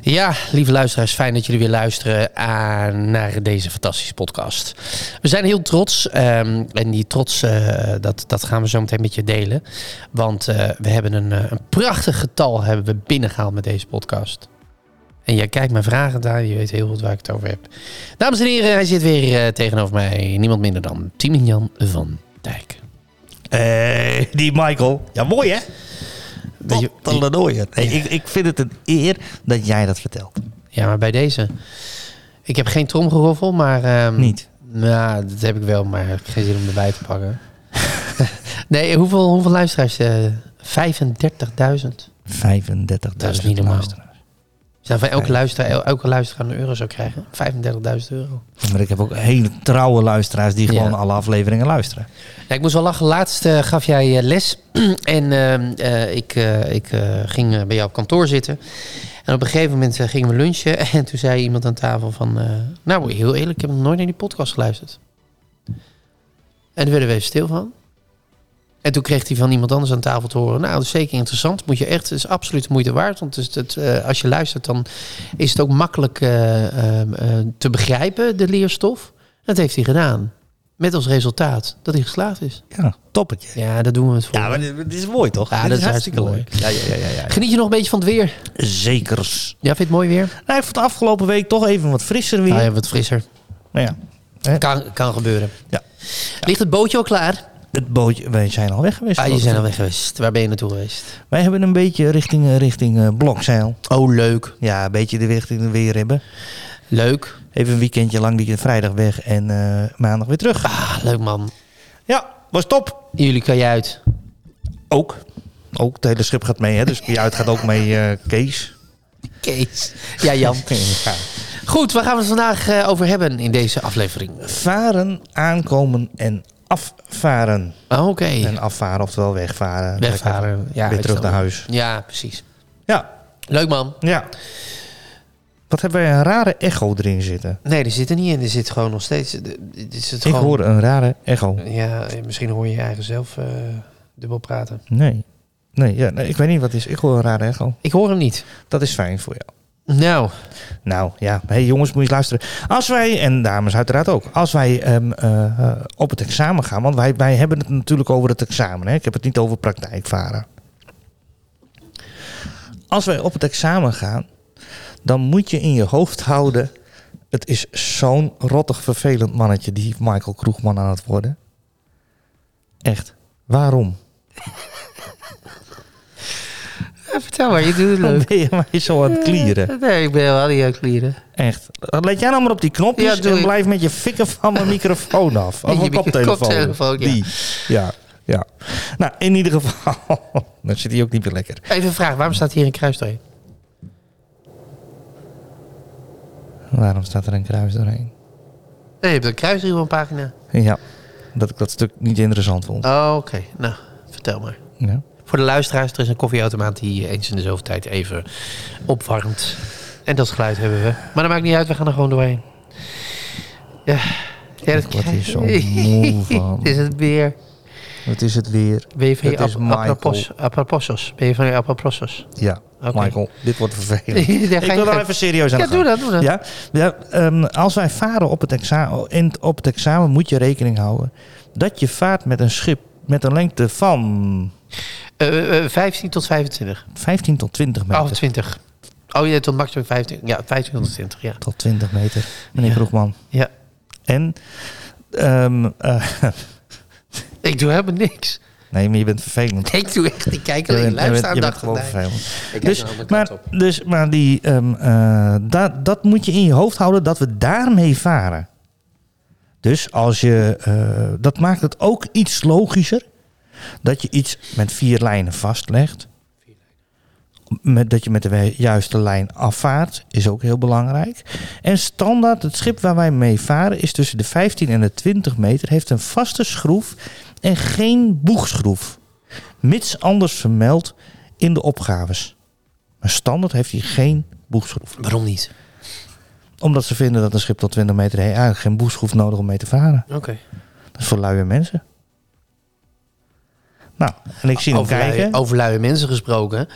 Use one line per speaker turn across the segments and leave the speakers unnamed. Ja, lieve luisteraars, fijn dat jullie weer luisteren aan, naar deze fantastische podcast. We zijn heel trots ehm, en die trots eh, dat, dat gaan we zo meteen met je delen. Want eh, we hebben een, eh, een prachtig getal hebben we binnengehaald met deze podcast. En jij kijkt mijn vragen daar, je weet heel goed waar ik het over heb. Dames en heren, hij zit weer eh, tegenover mij. Niemand minder dan Timian van Dijk.
Eh, die Michael. Ja, mooi hè?
Weet je-
Pottelenooien. Nee, ik, ik vind het een eer dat jij dat vertelt.
Ja, maar bij deze. Ik heb geen tromgeroffel, maar... ehm,
Niet.
Nou, dat heb ik wel, maar ik heb geen zin om erbij te pakken. nee, hoeveel, hoeveel luisteraars? eh 35.000.
35.000
Dat is niet normaal.
luisteraars.
Zou van elke
Vijf.
luisteraar, el- elke luisteraar een euro zou krijgen? 35.000 euro.
Maar ik heb ook hele trouwe luisteraars die
Ja.
gewoon alle afleveringen luisteren.
Ja, ik moest wel lachen. Laatst eh, gaf jij eh, les. en ehm, eh, ik, eh, ik eh, ging eh, bij jou op kantoor zitten. En op een gegeven moment eh, gingen we lunchen. En toen zei iemand aan tafel van... eh, nou, heel eerlijk, ik heb nog nooit naar die podcast geluisterd. En daar werden we even stil van. En toen kreeg hij van iemand anders aan tafel te horen... nou, dat is zeker interessant. Moet je echt, het is absoluut de moeite waard. Want het, is het, eh, als je luistert, dan is het ook makkelijk eh, ehm, eh, te begrijpen, de leerstof. Dat heeft hij gedaan. Met als resultaat dat hij geslaagd is.
Ja, toppetje.
Ja, daar doen we het voor.
Ja, maar dit, dit is mooi toch?
Ja,
Dit
dat is hartstikke
Ja, ja, ja, ja, ja.
Geniet je nog een beetje van het weer?
Zekers.
Ja, vind je het mooi weer?
Nou, ik vond de afgelopen week toch even wat frisser weer.
Ah,
ja.
ja, wat frisser. Kan, kan gebeuren.
Ja.
Ligt het bootje al klaar?
Het bootje, wij zijn al weg geweest.
Ah, je zijn al weg geweest. Waar ben je naartoe geweest?
Wij hebben een beetje richting, eh, richting eh, Blokzeil.
Oh, leuk.
Ja, een beetje de richting de weer hebben.
Leuk.
Even een weekendje lang die vrijdag weg en eh, maandag weer terug.
Ah, leuk man.
Ja, was top.
Jullie kan je uit.
Ook. Ook, het hele schip gaat mee, hè? dus die uit gaat ook mee eh, Kees.
Kees. Ja, Jan.
Ja.
Goed, waar gaan we het vandaag eh, over hebben in deze aflevering?
Varen, aankomen en afvaren.
Oh, Oké.
En afvaren, oftewel wegvaren.
Wegvaren. Ja,
nou, weer terug
uitstellen.
naar huis.
Ja, precies.
Ja,
Leuk man.
ja. Wat hebben wij een rare echo erin zitten?
Nee, er zit er niet in. Er zit gewoon nog steeds... eh, Er zit
Ik
gewoon...
hoor een rare echo.
Ja, misschien hoor je je eigen zelf eh, dubbel praten.
Nee. Nee, ja, nee, ik weet niet wat het is. Ik hoor een rare echo.
Ik hoor hem niet.
Dat is fijn voor jou.
Nou,
Nou ja, hey, jongens, moet je eens luisteren. Als wij, en dames uiteraard ook, als wij ehm, eh, eh, op het examen gaan, want wij, wij hebben het natuurlijk over het examen. Hè? Ik heb het niet over praktijkvaren. Als wij op het examen gaan, dan moet je in je hoofd houden. Het is zo'n rottig vervelend mannetje, die Michael Kroegman aan het worden. Echt, waarom?
vertel maar, je doet het
Dan
leuk.
ben je mij zo aan het klieren.
Nee, ik ben helemaal niet aan het klieren.
Echt. Let jij nou maar op die
Ja,
knopjes
doe
en
ik.
blijf met je fikken van mijn microfoon af. Of
Je
mijn koptelefoon.
koptelefoon, ja.
Die. Ja, ja. Nou, in ieder geval. Dan zit hij ook niet meer lekker.
Even een vraag, waarom staat hier een kruis doorheen?
Waarom staat er een kruis doorheen?
Nee, je hebt een kruis hier op een pagina.
Ja, dat ik dat stuk niet interessant vond.
Oh, oké. Nou, vertel maar.
Ja.
Voor de luisteraars, er is een koffieautomaat die eens in de zoveel tijd even opwarmt. En dat geluid hebben we. Maar dat maakt niet uit, we gaan er gewoon doorheen. Ja, ja dat
Ik word hier zo moe van.
Het is het weer.
Wat is het weer?
Ben je van je
Het is
ap-
Michael.
apropos- aproposos? Ben je van je aproposos?
Ja,
Oké.
Michael, dit wordt vervelend.
Ja, ga
Ik
je-
wil
ga-
er even serieus aan
Ja,
de gang.
doe dat, doe dat.
Ja, ja ehm, als wij varen op het, examen, in, het- op het examen moet je rekening houden dat je vaart met een schip met een lengte van
Eh, eh, 15 tot 25.
15 tot 20 meter.
Oh, 20. Oh ja, tot maximum 15. Ja, 15 tot 20, ja.
Tot 20 meter, meneer
Ja.
Kroegman.
ja.
En, ehm, eh,
Ik doe helemaal niks.
nee, maar je bent vervelend.
Ik doe echt, ik kijk
Je
alleen,
bent- je
luister
bent-
aan
je bent
dag
gewoon
en dag.
vervelend.
Ik kijk
Dus
aan de andere
maar,
kant op.
dus, maar die, ehm, eh, dat, dat moet je in je hoofd houden dat we daarmee varen. Dus als je, eh, dat maakt het ook iets logischer dat je iets met vier lijnen vastlegt. met, dat je met de we- juiste lijn afvaart, is ook heel belangrijk. En standaard, het schip waar wij mee varen is tussen de 15 en de 20 meter, heeft een vaste schroef en geen boegschroef. Mits anders vermeld in de opgaves. Maar standaard heeft hij geen boegschroef.
Waarom niet?
Omdat ze vinden dat een schip tot 20 meter heen eigenlijk geen boegschroef nodig om mee te varen.
Oké.
Dat is voor luie mensen. Nou, en ik zie hem
Over,
kijken.
lui- over luie mensen gesproken.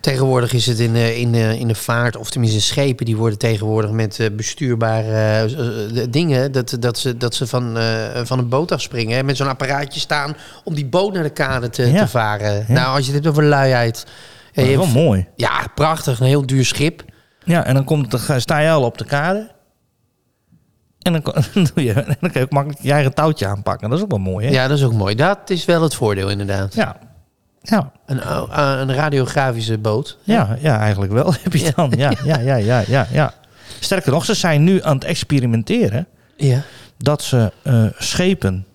Tegenwoordig is het in de, in, de, in de vaart, of tenminste schepen, die worden tegenwoordig met eh, bestuurbare eh, z- eh, de- dingen. Dat, dat ze, dat ze van, eh, van een boot afspringen. Hè, met zo'n apparaatje staan om die boot naar de kade te,
Ja.
te varen.
Ja.
Nou, als je dit over luiheid. eh,
Dat is
je
wel
hebt-
mooi.
ja, prachtig. Een heel duur schip.
Ja, en dan, komt, dan ga- sta je al op de kade. En dan, kon- dan doe je, en dan kun je ook makkelijk je eigen touwtje aanpakken. Dat is ook wel mooi, hè?
Ja, dat is ook mooi. Dat is wel het voordeel, inderdaad.
Ja, ja,
Een, ou- eh, een radiografische boot.
ja, ja, eigenlijk wel heb je dan. Ja, ja, ja, ja, ja, ja. Sterker nog, ze zijn nu aan het experimenteren
Ja.
dat ze eh, schepen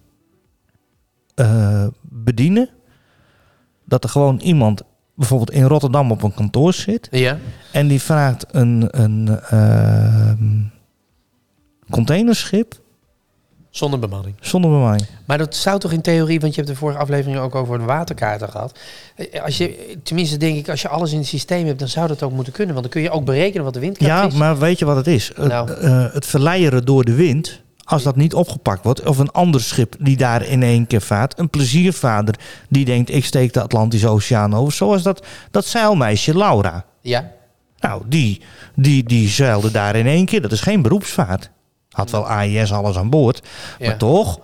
eh, bedienen. Dat er gewoon iemand bijvoorbeeld in Rotterdam op een kantoor zit.
Ja.
En die vraagt een, een ehm, containerschip
Zonder bemanning.
zonder bemanning.
Maar dat zou toch in theorie, want je hebt de vorige aflevering ook over de waterkaarten gehad. Eh, Als je, tenminste denk ik, als je alles in het systeem hebt, dan zou dat ook moeten kunnen. Want dan kun je ook berekenen wat de windkracht
Ja,
is.
maar weet je wat het is? Het-
Nou.
eh, het verleideren door de wind, als dat niet opgepakt wordt, of een ander schip die daar in één keer vaart, een pleziervader die denkt: ik steek de Atlantische Oceaan over, zoals dat, dat zeilmeisje Laura.
Ja,
Nou, die, die, die zeilde daar in één keer. Dat is geen beroepsvaart. Had wel AIS alles aan boord,
Ja.
maar toch.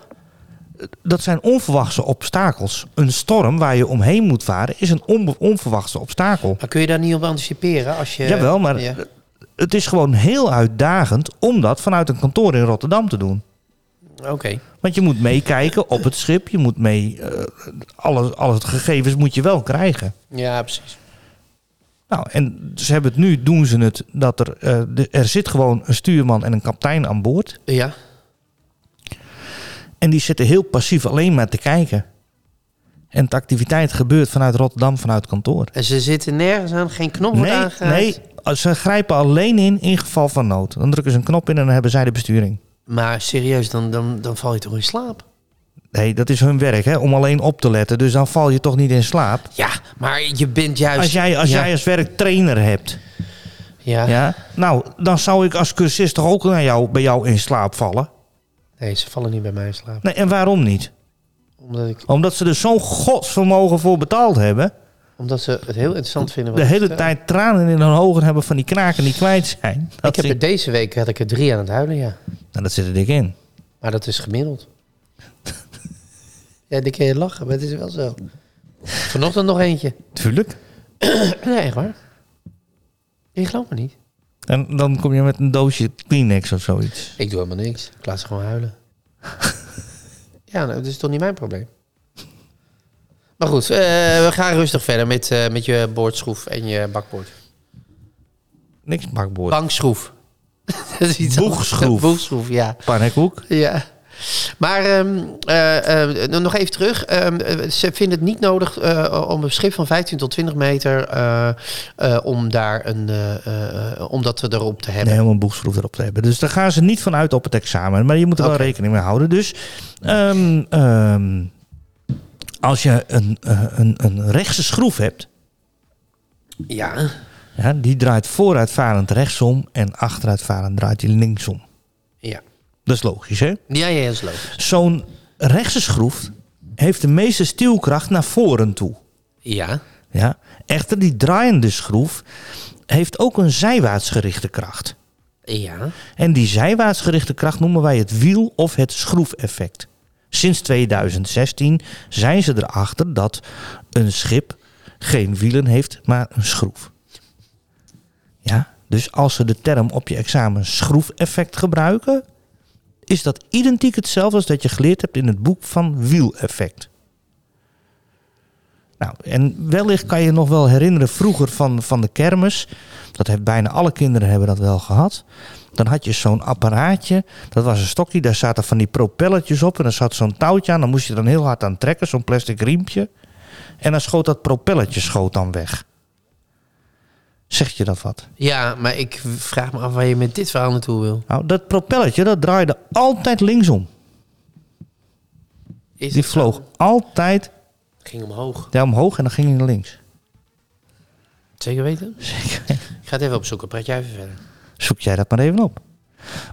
eh, Dat zijn onverwachte obstakels. Een storm waar je omheen moet varen is een onbe- onverwachte obstakel.
maar kun je daar niet op anticiperen? Als je,
Jawel, maar
Ja.
het is gewoon heel uitdagend om dat vanuit een kantoor in Rotterdam te doen.
Oké,
Want je moet meekijken op het schip, je moet mee. eh, alles, alles de gegevens moet je wel krijgen.
ja precies.
Nou, en ze hebben het nu, doen ze het dat er. eh, de- er zit gewoon een stuurman en een kapitein aan boord.
Ja,
En die zitten heel passief alleen maar te kijken. En de activiteit gebeurt vanuit Rotterdam, vanuit kantoor.
en ze zitten nergens aan, geen knop wordt
Nee,
aangehaald.
nee, ze grijpen alleen in in geval van nood. Dan drukken ze een knop in en dan hebben zij de besturing.
Maar serieus, dan, dan, dan val je toch in slaap?
Nee, dat is hun werk, hè, om alleen op te letten. Dus dan val je toch niet in slaap.
Ja, maar je bent juist...
Als jij als,
ja.
jij als werk trainer hebt,
Ja,
ja, nou, dan zou ik als cursist toch ook naar jou, bij jou in slaap vallen.
nee, ze vallen niet bij mij in slaap.
Nee, en waarom niet?
Omdat, ik,
Omdat ze er zo'n godsvermogen voor betaald hebben.
omdat ze het heel interessant vinden. wat
De
ik
hele
vertel.
tijd tranen in hun ogen hebben van die kraken die kwijt zijn.
Ik
Dat,
heb
zit,
er deze week had ik er drie aan het huilen, ja.
nou, dat zit er dik in.
Maar dat is gemiddeld. ja, dan kun je lachen, maar het is wel zo. Vanochtend nog eentje.
Tuurlijk.
nee, echt waar. Je gelooft me niet.
En dan kom je met een doosje Kleenex of zoiets.
Ik doe helemaal niks. Ik laat ze gewoon huilen. ja, nou, dat is toch niet mijn probleem. Maar goed, eh, we gaan rustig verder met, eh, met je boordschroef en je bakboord.
Niks bakboord.
Bankschroef. dat is iets anders.
Boegschroef.
Boegschroef, ja.
Pannenkoek.
Ja. Maar ehm, eh, eh, nog even terug. Ehm, eh, ze vinden het niet nodig eh, om een schip van 15 tot 20 meter eh, eh, om daar een eh, eh, om dat erop te
En
hebben.
helemaal een boegschroef erop te hebben. Dus daar gaan ze niet van uit op het examen. Maar je moet er
Oké.
wel rekening mee houden. Dus ehm, ehm, als je een, eh, een, een rechtse schroef hebt,
Ja.
ja, die draait vooruitvarend rechtsom en achteruitvarend draait die linksom.
Ja.
Dat is logisch, hè?
Ja, ja, dat is logisch.
Zo'n rechtse schroef heeft de meeste stuwkracht naar voren toe.
Ja.
Ja? Echter, die draaiende schroef heeft ook een zijwaarts gerichte kracht.
Ja.
En die zijwaarts gerichte kracht noemen wij het wiel- of het schroefeffect. Sinds 2016 zijn ze erachter dat een schip geen wielen heeft, maar een schroef. Ja, dus als ze de term op je examen schroefeffect gebruiken, is dat identiek hetzelfde als dat je geleerd hebt in het boek van wieleffect. Nou, en wellicht kan je nog wel herinneren vroeger van, van de kermis. Dat hebben bijna alle kinderen hebben dat wel gehad. Dan had je zo'n apparaatje. Dat was een stokje. Daar zaten van die propelletjes op. En daar zat zo'n touwtje aan. Dan moest je dan heel hard aan trekken. Zo'n plastic riempje. En dan schoot dat propelletje schoot dan weg. Zeg je dat wat?
Ja, maar ik vraag me af waar je met dit verhaal naartoe wil.
Nou, dat propelletje, dat draaide altijd linksom.
Is
Die
het
vloog
zo?
altijd
Ging omhoog.
daar omhoog en dan ging hij naar links.
Zeker weten? Ik ga het even opzoeken. Praat jij even verder.
Zoek jij dat maar even op.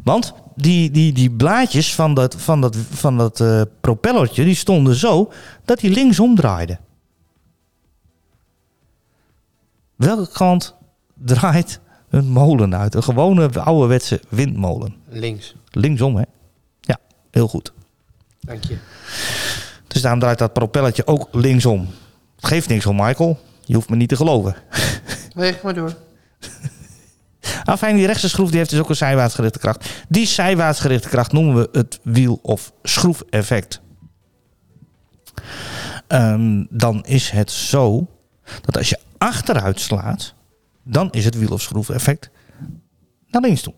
Want die, die, die blaadjes van dat, van dat, van dat eh, propellertje, die stonden zo dat die linksom draaide. Welke kant draait een molen uit? Een gewone ouderwetse windmolen.
Links.
Linksom, hè? Ja, heel goed.
Dank je.
Dus daarom draait dat propelletje ook linksom. Geeft niks om, Michael. Je hoeft me niet te geloven.
Nee, ga maar door.
Afijn, die rechtse schroef die heeft dus ook een zijwaarts gerichte kracht. Die zijwaarts gerichte kracht noemen we het wiel- of schroefeffect. Ehm, dan is het zo dat als je achteruit slaat, dan is het wiel- of schroefeffect naar links toe.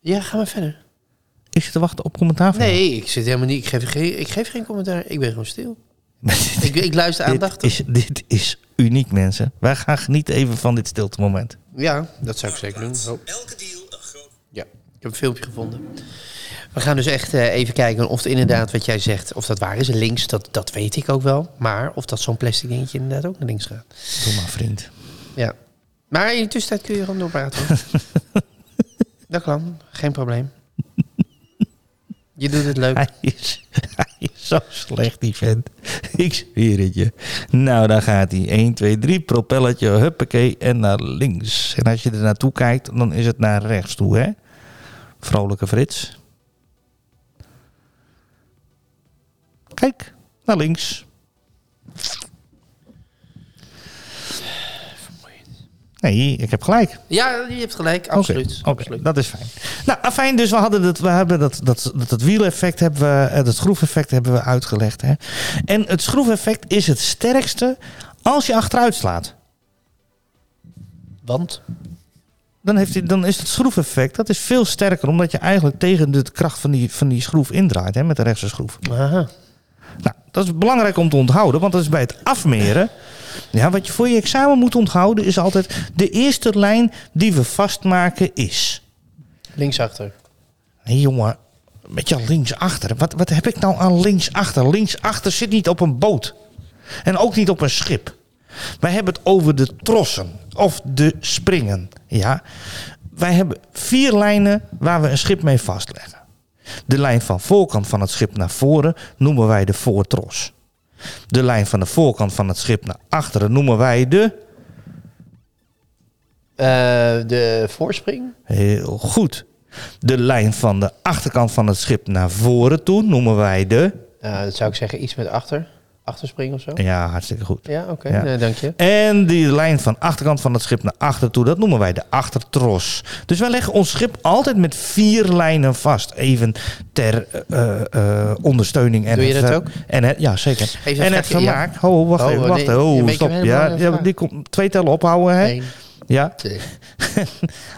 Ja, ga maar verder.
Ik zit te wachten op commentaar van jou.
Nee, ik zit helemaal niet. Ik geef geen, ik geef geen commentaar. Ik ben gewoon stil. Ik, ik luister
dit,
aandachtig.
is, dit is uniek, mensen. Wij gaan genieten even van dit stilte moment.
Ja, dat zou ik zeker doen. Oh.
Elke deal een groot.
Ja, ik heb een filmpje gevonden. We gaan dus echt eh, even kijken of het inderdaad wat jij zegt, of dat waar is. Links, dat, dat weet ik ook wel. Maar of dat zo'n plastic dingetje inderdaad ook naar links gaat.
Doe maar, vriend.
Ja. Maar in de tussentijd kun je gewoon doorpraten. hoor. dat kan, geen probleem. Je doet het leuk.
Hij is, hij is zo slecht, die vent. Ik zweer het je. Nou, daar gaat hij. 1, 2, 3, propelletje, huppakee, en naar links. En als je er naartoe kijkt, dan is het naar rechts toe, hè? Vrolijke Frits. Kijk, naar links. Nee, ik heb gelijk.
Ja, je hebt gelijk,
Oké,
absoluut.
oké,
absoluut.
dat is fijn. Nou, afijn, dus we hadden dat, we hebben dat, dat, dat, dat wieleffect hebben we, eh, dat schroefeffect hebben we uitgelegd. Hè? En het schroefeffect is het sterkste als je achteruit slaat.
Want?
Dan, heeft hij, dan is het schroefeffect dat is veel sterker, omdat je eigenlijk tegen de kracht van die, van die schroef indraait, hè, met de rechtse schroef.
Aha.
Nou, dat is belangrijk om te onthouden, want dat is bij het afmeren. Ja, wat je voor je examen moet onthouden is altijd de eerste lijn die we vastmaken is.
Linksachter.
Hé jongen, met jou linksachter. Wat, wat heb ik nou aan linksachter? Linksachter zit niet op een boot. En ook niet op een schip. Wij hebben het over de trossen of de springen. Ja? Wij hebben vier lijnen waar we een schip mee vastleggen. De lijn van voorkant van het schip naar voren noemen wij de voortros. De lijn van de voorkant van het schip naar achteren noemen wij de
Eh, de voorspring?
Heel goed. De lijn van de achterkant van het schip naar voren toe noemen wij de.
dat Eh, zou ik zeggen iets met achter. Achterspring of zo.
Oh. Ja, hartstikke goed.
Ja, oké.
Ja.
Nee, dank je.
En die lijn van achterkant van het schip naar achter toe, dat noemen wij de achtertros. Dus wij leggen ons schip altijd met vier lijnen vast. Even ter eh, eh, ondersteuning. En
Doe je
het
dat
ver-
ook?
En het, ja, zeker.
Even
en het
vragen, ja.
vermaak. Ho, ho, wacht
Oh,
even.
nee,
Wacht,
je
ho,
bent
stop.
je
Ja,
helemaal eh,
ja,
vraag.
die komt twee tellen ophouden. Hè?
Eén,
Ja.
twee.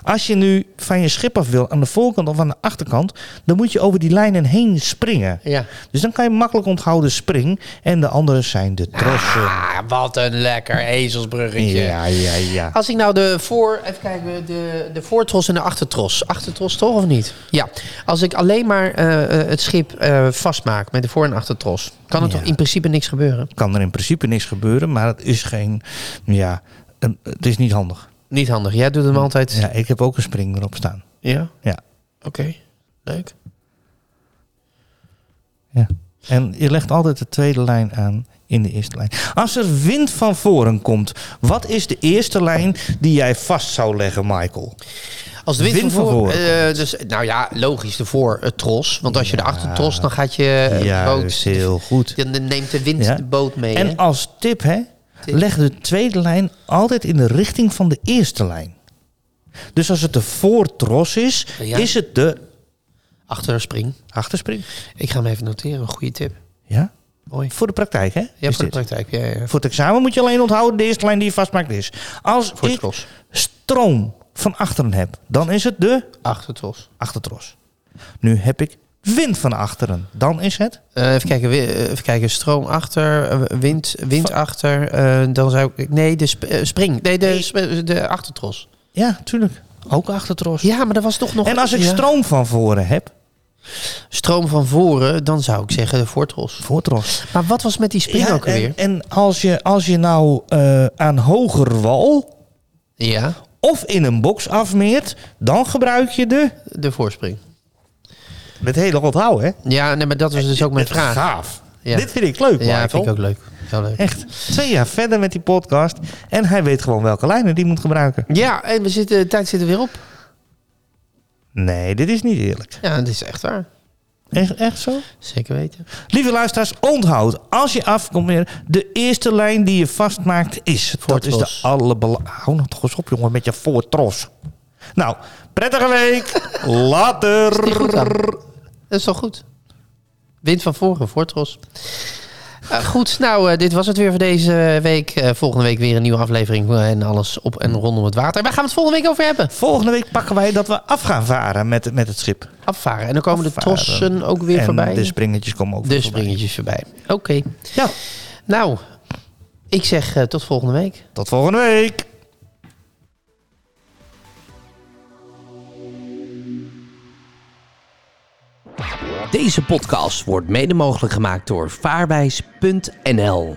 Als je nu van je schip af wil, aan de voorkant of aan de achterkant, dan moet je over die lijnen heen springen.
Ja.
Dus dan kan je makkelijk onthouden spring en de andere zijn de trossen.
Ah, wat een lekker ezelsbruggetje.
Ja, ja, ja.
Als ik nou de voor, even kijken, de, de voortros en de achtertros. Achtertros toch of niet? Ja. Als ik alleen maar eh, eh, het schip eh, vastmaak met de voor- en achtertros, kan er
Ja.
toch in principe niks gebeuren?
Kan er in principe niks gebeuren, maar het is geen, ja, een- het is niet handig.
Niet handig. Jij doet hem altijd.
Ja, ik heb ook een spring erop staan.
Ja?
Ja,
Oké. Leuk.
ja. En je legt altijd de tweede lijn aan in de eerste lijn. Als er wind van voren komt, wat is de eerste lijn die jij vast zou leggen, Michael?
Als de wind,
Wind
van
van
voor,
voren
eh, dus, nou ja, logisch, de voor het tros. Want als je de achtertros, dan gaat je eh,
Juist,
boot.
heel goed.
Dan dan neemt de wind
Ja.
de boot mee. hè?
En als tip, hè,
Tip.
leg de tweede lijn altijd in de richting van de eerste lijn. Dus als het de voortros is,
Ja.
is het de
Achter de spring.
achterspring.
Ik ga hem even noteren. Een goede tip.
Ja?
Mooi.
Voor de praktijk, hè?
Ja,
is
voor de
dit.
praktijk. Ja, ja.
Voor het examen moet je alleen onthouden de eerste lijn die je vastmaakt is. Als
Voor het
ik
tros.
stroom van achteren heb, dan is het de
Achtertros.
achtertros. Nu heb ik Wind van achteren. Dan is het.
Eh, even, kijken, wi- eh, even kijken, stroom achter, eh, wind, wind achter. eh, dan zou ik. Nee, de sp- eh, spring. Nee, de, sp- de achtertros.
Ja, tuurlijk. Ook achtertros.
Ja, maar dat was toch nog.
En als ik
ja.
stroom van voren heb,
stroom van voren, dan zou ik zeggen de voortros.
voortros.
Maar wat was met die spring
Ja,
ook alweer?
en, en als je, als je nou eh, aan hoger wal
Ja,
of in een box afmeert, dan gebruik je de...
de voorspring.
Met hele onthouden, hè?
Ja, nee, maar dat was dus ook mijn vraag.
Gaaf.
Ja.
Dit vind ik leuk,
Ja,
Michael.
vind ik ook leuk. Heel leuk.
Echt. Twee jaar verder met die podcast. En hij weet gewoon welke lijnen die moet gebruiken.
Ja, en we zitten, de tijd zit er weer op.
Nee, dit is niet eerlijk.
Ja, dat is echt waar.
Echt, echt zo?
Zeker weten.
Lieve luisteraars, onthoud. Als je afkomt weer, de eerste lijn die je vastmaakt is. Dat is
Voortros.
de allerbelangrijkste. Hou nou toch eens op, jongen, met je voortros. Nou, prettige week. Later.
Niet goed aan. Dat is toch goed? Wind van voren, Voortros. Eh, goed, nou, eh, dit was het weer voor deze week. Eh, volgende week weer een nieuwe aflevering eh, en alles op en rondom het water. En waar gaan we het volgende week over hebben?
Volgende week pakken wij dat we af gaan varen met, met het schip.
Afvaren. En dan komen
Afvaren.
de trossen ook weer
en
voorbij.
de springetjes komen ook
de
weer voorbij.
springetjes voorbij. Oké.
Ja,
Nou, ik zeg eh, tot volgende week.
tot volgende week.
Deze podcast wordt mede mogelijk gemaakt door vaarwijs.nl.